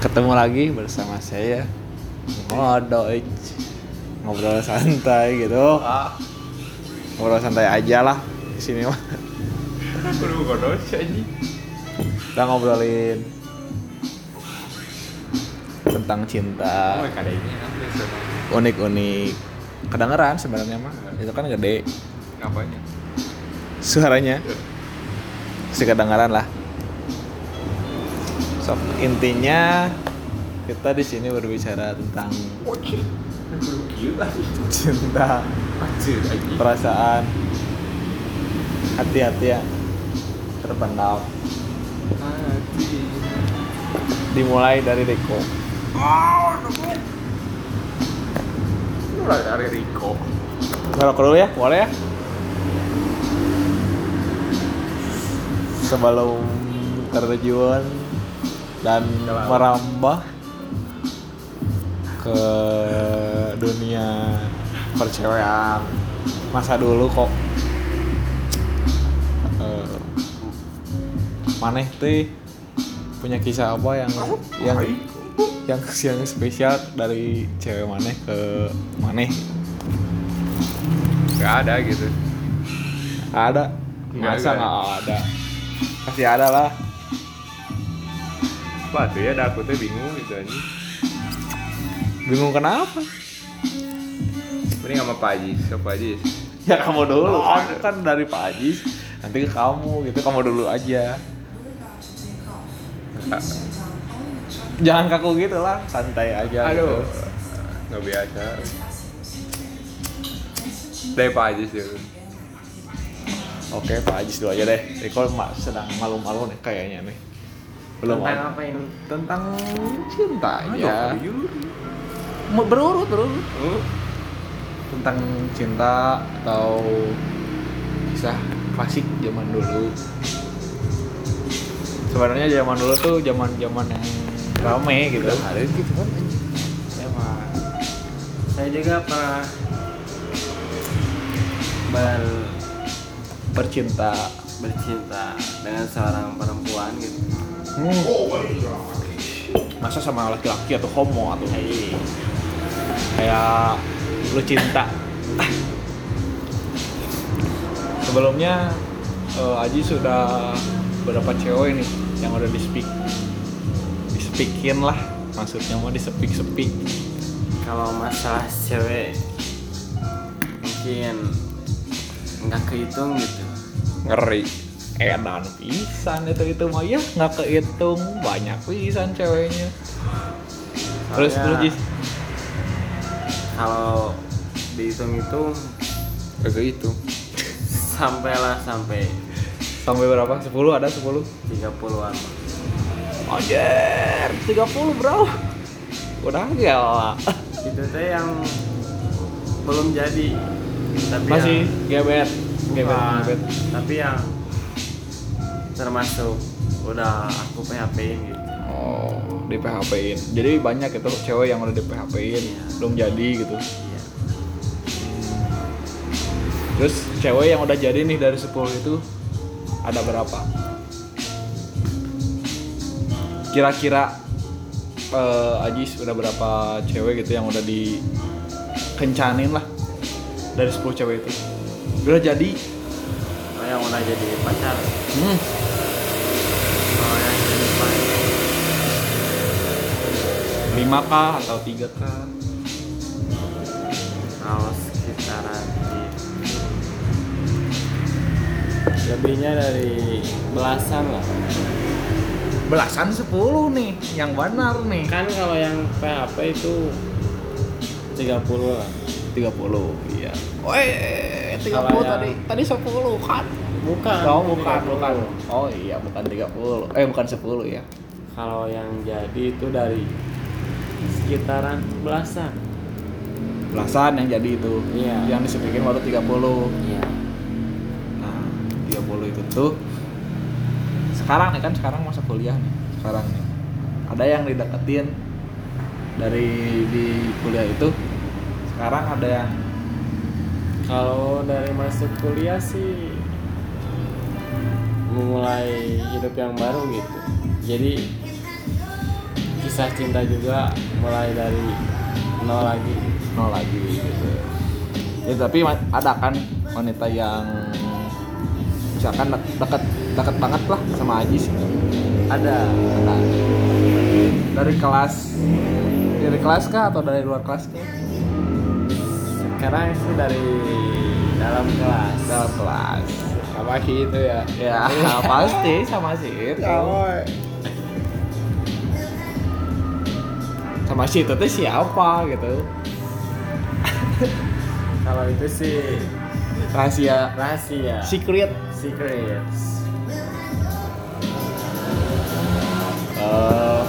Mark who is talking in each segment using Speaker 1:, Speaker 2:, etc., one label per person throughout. Speaker 1: Ketemu lagi bersama saya Ngodoy Ngobrol santai gitu
Speaker 2: Ah,
Speaker 1: Ngobrol santai aja lah di sini mah
Speaker 2: kudu godol sih anjing.
Speaker 1: Kita ngobrolin Tentang cinta
Speaker 2: Oh, kada ini nanti sana.
Speaker 1: Unik-unik Kedengeran sebenarnya mah Itu kan gede
Speaker 2: Ngapanya?
Speaker 1: suaranya Masih kedengaran lah so, intinya kita di sini berbicara tentang
Speaker 2: Oke. Kudu kieu tadi.
Speaker 1: cinta
Speaker 2: Anjir anjing.
Speaker 1: perasaan hati-hati ya terpendam
Speaker 2: Anjing.
Speaker 1: dimulai dari Deko
Speaker 2: Oh, nemu. Lu lah dari Riko.
Speaker 1: ngerokok dulu ya boleh ya sebelum terjun dan
Speaker 2: Kelawar.
Speaker 1: merambah ke dunia percewean masa dulu kok Eh, maneh teh punya kisah apa yang yang yang yang spesial dari cewek maneh ke maneh
Speaker 2: Enggak ada gitu.
Speaker 1: ada
Speaker 2: Nggak
Speaker 1: masa
Speaker 2: ada.
Speaker 1: nggak ada pasti ada lah
Speaker 2: Wah, tuh ya dah aku tuh bingung gitu anjing.
Speaker 1: bingung kenapa
Speaker 2: Mending sama Pak Haji, so Pak Haji.
Speaker 1: ya kamu dulu
Speaker 2: Oh,
Speaker 1: aku kan dari Pak Ajis nanti ke kamu gitu kamu dulu aja
Speaker 2: Ah,
Speaker 1: jangan kaku gitu lah santai aja
Speaker 2: Aduh.
Speaker 1: gitu.
Speaker 2: Nggak biasa. Dari Pak Haji sih.
Speaker 1: oke Pak Ajis dulu aja deh Riko ma- sedang malu-malu nih kayaknya nih belum
Speaker 2: Tentang
Speaker 1: ada. ya.
Speaker 2: apa ini?
Speaker 1: tentang cinta aja
Speaker 2: Aduh, yuk.
Speaker 1: Mau Ah, berurut berurut
Speaker 2: Oh.
Speaker 1: tentang cinta atau kisah klasik zaman dulu. Sebenarnya zaman dulu tuh zaman zaman yang rame gitu. Ada gitu kan?
Speaker 3: Memang. Saya juga pernah ber,
Speaker 1: Bercinta.
Speaker 3: bercinta dengan seorang perempuan gitu.
Speaker 1: Hmm. Masa sama laki-laki atau homo atau kayak lu cinta. Sebelumnya eh, Aji sudah berapa cewek nih yang udah di speak di speakin lah maksudnya mau di speak speak
Speaker 3: Kalau masalah cewek mungkin nggak kehitung gitu.
Speaker 2: Ngeri.
Speaker 1: edan Eh, pisan itu itu mah ya nggak kehitung banyak pisan ceweknya terus
Speaker 3: Soalnya
Speaker 1: terus Jis
Speaker 3: Kalau dihitung-hitung
Speaker 2: Kagak itu.
Speaker 3: sampailah sampai
Speaker 1: sampai berapa 10 ada 10
Speaker 3: 30-an.
Speaker 1: Anjir 30 bro udah gila
Speaker 3: Itu teh yang belum jadi. Tapi
Speaker 1: masih
Speaker 3: yang-
Speaker 1: gebet gebet
Speaker 3: Bukan,
Speaker 1: gebet
Speaker 3: tapi yang termasuk udah aku PHP in gitu
Speaker 1: oh di PHP in jadi banyak itu cewek yang udah di PHP in
Speaker 3: Iya.
Speaker 1: belum jadi gitu
Speaker 3: iya
Speaker 1: terus cewek yang udah jadi nih dari 10 itu ada berapa kira-kira eh, Ajis udah berapa cewek gitu yang udah dikencanin lah dari 10 cewek itu udah jadi
Speaker 3: oh yang udah jadi pacar
Speaker 1: hmm,
Speaker 3: oh yang jadi pacar
Speaker 1: 5k atau 3k
Speaker 3: kalau sekitaran di lebihnya dari belasan lah
Speaker 1: belasan 10 nih yang benar nih
Speaker 3: kan kalau yang PHP itu 30 lah
Speaker 1: 30 iya Weh, 30
Speaker 3: Salah ya.
Speaker 1: tadi tadi 10 kan
Speaker 3: bukan
Speaker 1: Oh, bukan, bukan. Oh iya, bukan 30. Eh, bukan 10 ya.
Speaker 3: kalau yang jadi itu dari sekitaran belasan
Speaker 1: belasan yang jadi itu
Speaker 3: Iya.
Speaker 1: yang disepikin baru 30
Speaker 3: iya
Speaker 1: nah 30 itu tuh sekarang nih kan sekarang masa kuliah nih sekarang nih ada yang dideketin dari di kuliah itu sekarang ada yang
Speaker 3: Kalau dari masuk kuliah sih memulai hidup yang baru gitu. Jadi kisah cinta juga mulai dari nol lagi
Speaker 1: nol lagi gitu ya tapi ma- ada kan wanita yang misalkan dek- deket deket banget lah sama Ajis ada ada dari kelas dari kelas kah atau dari luar kelasnya
Speaker 3: sekarang sih dari dalam kelas
Speaker 1: dalam kelas
Speaker 3: sama sih itu ya
Speaker 1: ya pasti sama si itu sama si itu tuh siapa gitu
Speaker 3: kalau itu sih
Speaker 1: rahasia
Speaker 3: rahasia
Speaker 1: secret
Speaker 3: secret
Speaker 1: Eh,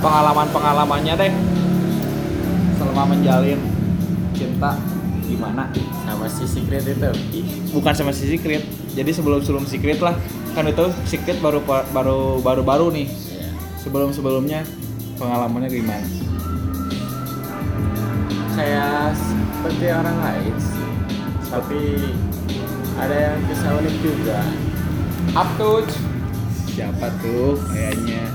Speaker 1: pengalaman-pengalamannya deh selama menjalin cinta gimana
Speaker 3: sama si secret itu
Speaker 1: bukan sama si secret jadi sebelum sebelum secret lah kan itu secret baru baru baru baru nih
Speaker 3: Iya.
Speaker 1: sebelum sebelumnya pengalamannya gimana
Speaker 3: saya seperti orang lain sih. tapi ada yang bisa unik juga
Speaker 1: up siapa tuh kayaknya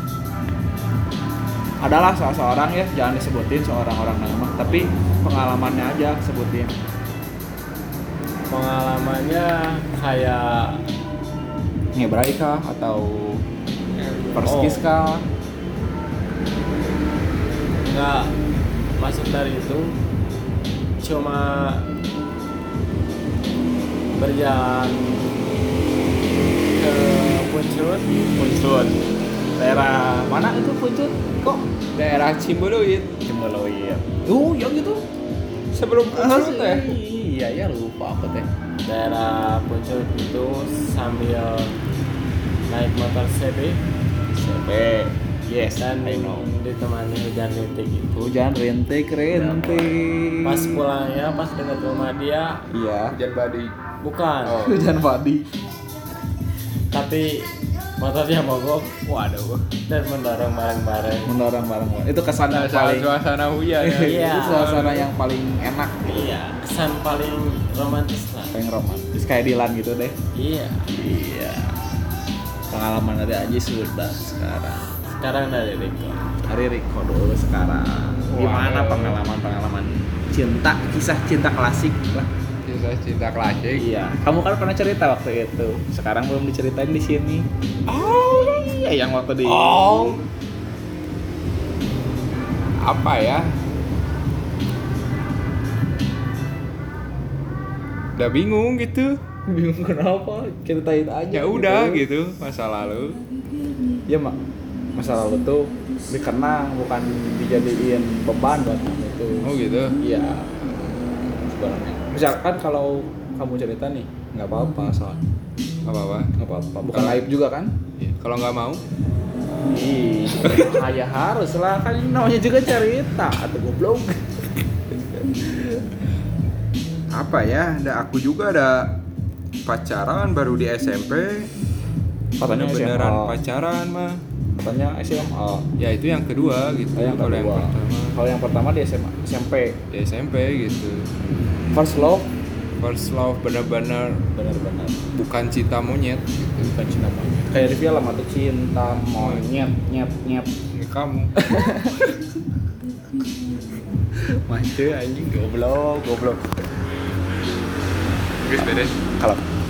Speaker 1: adalah salah seorang ya jangan disebutin seorang orang nama tapi pengalamannya aja sebutin
Speaker 3: pengalamannya kayak
Speaker 1: ngebrai kah atau perskis
Speaker 3: Oh,
Speaker 1: kah
Speaker 3: nggak masuk dari itu cuma berjalan ke Puncur
Speaker 1: Puncut daerah mana itu Puncut kok
Speaker 2: Daerah Cimbeluit.
Speaker 3: Cembeloir
Speaker 1: tuh yang gitu
Speaker 2: Sebelum Puncur teh.
Speaker 1: Ah, iya ya lupa aku teh
Speaker 3: daerah Puncur itu sambil naik motor CB
Speaker 1: CB yes
Speaker 3: dan
Speaker 1: I know
Speaker 3: ditemani hujan rintik itu
Speaker 1: hujan rintik rintik
Speaker 3: pas pulangnya pas dekat rumah dia
Speaker 1: iya
Speaker 2: Hujan badai.
Speaker 3: bukan
Speaker 2: Oh.
Speaker 1: hujan padi
Speaker 3: tapi motornya mogok waduh dan mendorong bareng-bareng
Speaker 1: mendorong bareng itu kesan yang
Speaker 2: Suasana,
Speaker 1: paling
Speaker 2: suasana hujan. ya.
Speaker 3: Iya.
Speaker 1: itu suasana yang paling enak
Speaker 3: iya kesan paling romantis lah
Speaker 1: paling romantis kayak Dilan gitu deh
Speaker 3: iya
Speaker 1: iya pengalaman dari Aji sudah sekarang
Speaker 3: sekarang dari Riko
Speaker 1: Hari Riko dulu sekarang. Gimana pengalaman-pengalaman cinta, kisah cinta klasik lah.
Speaker 2: Kisah cinta klasik.
Speaker 1: Iya. Kamu kan pernah cerita waktu itu. Sekarang belum diceritain di sini.
Speaker 2: Oh.
Speaker 1: Iya, yang waktu di
Speaker 2: Oh. Apa ya? Udah bingung gitu.
Speaker 1: bingung kenapa ceritain aja.
Speaker 2: Ya udah gitu masa lalu.
Speaker 1: Ya mak masa lalu tuh dikenang bukan dijadiin beban buat kamu tuh.
Speaker 2: Oh gitu.
Speaker 1: Iya. Sebenarnya. Misalkan kalau kamu cerita nih nggak apa-apa soal
Speaker 2: Apa apa.
Speaker 1: nggak apa-apa bukan aib juga kan
Speaker 2: Iya. Kalau nggak mau,
Speaker 1: Ih, ya harus lah kan ini namanya juga cerita atau goblok.
Speaker 2: apa ya ada aku juga ada pacaran baru di SMP
Speaker 1: Katanya
Speaker 2: Bener- beneran
Speaker 1: SMA.
Speaker 2: pacaran mah
Speaker 1: Katanya SMA.
Speaker 2: ya itu yang kedua gitu
Speaker 1: Kalau Oh, yang
Speaker 2: Kalau
Speaker 1: kedua.
Speaker 2: pertama
Speaker 1: Kalau yang pertama di SMA, SMP.
Speaker 2: di SMP gitu
Speaker 1: First love
Speaker 2: first love bener-bener
Speaker 1: benar-benar
Speaker 2: bukan cinta monyet gitu
Speaker 1: bukan cinta monyet. Kayak di film atau cinta monyet nyet nyet.
Speaker 2: Ini kamu
Speaker 1: Mantep anjing goblok goblok.
Speaker 2: guys beres
Speaker 1: Kalau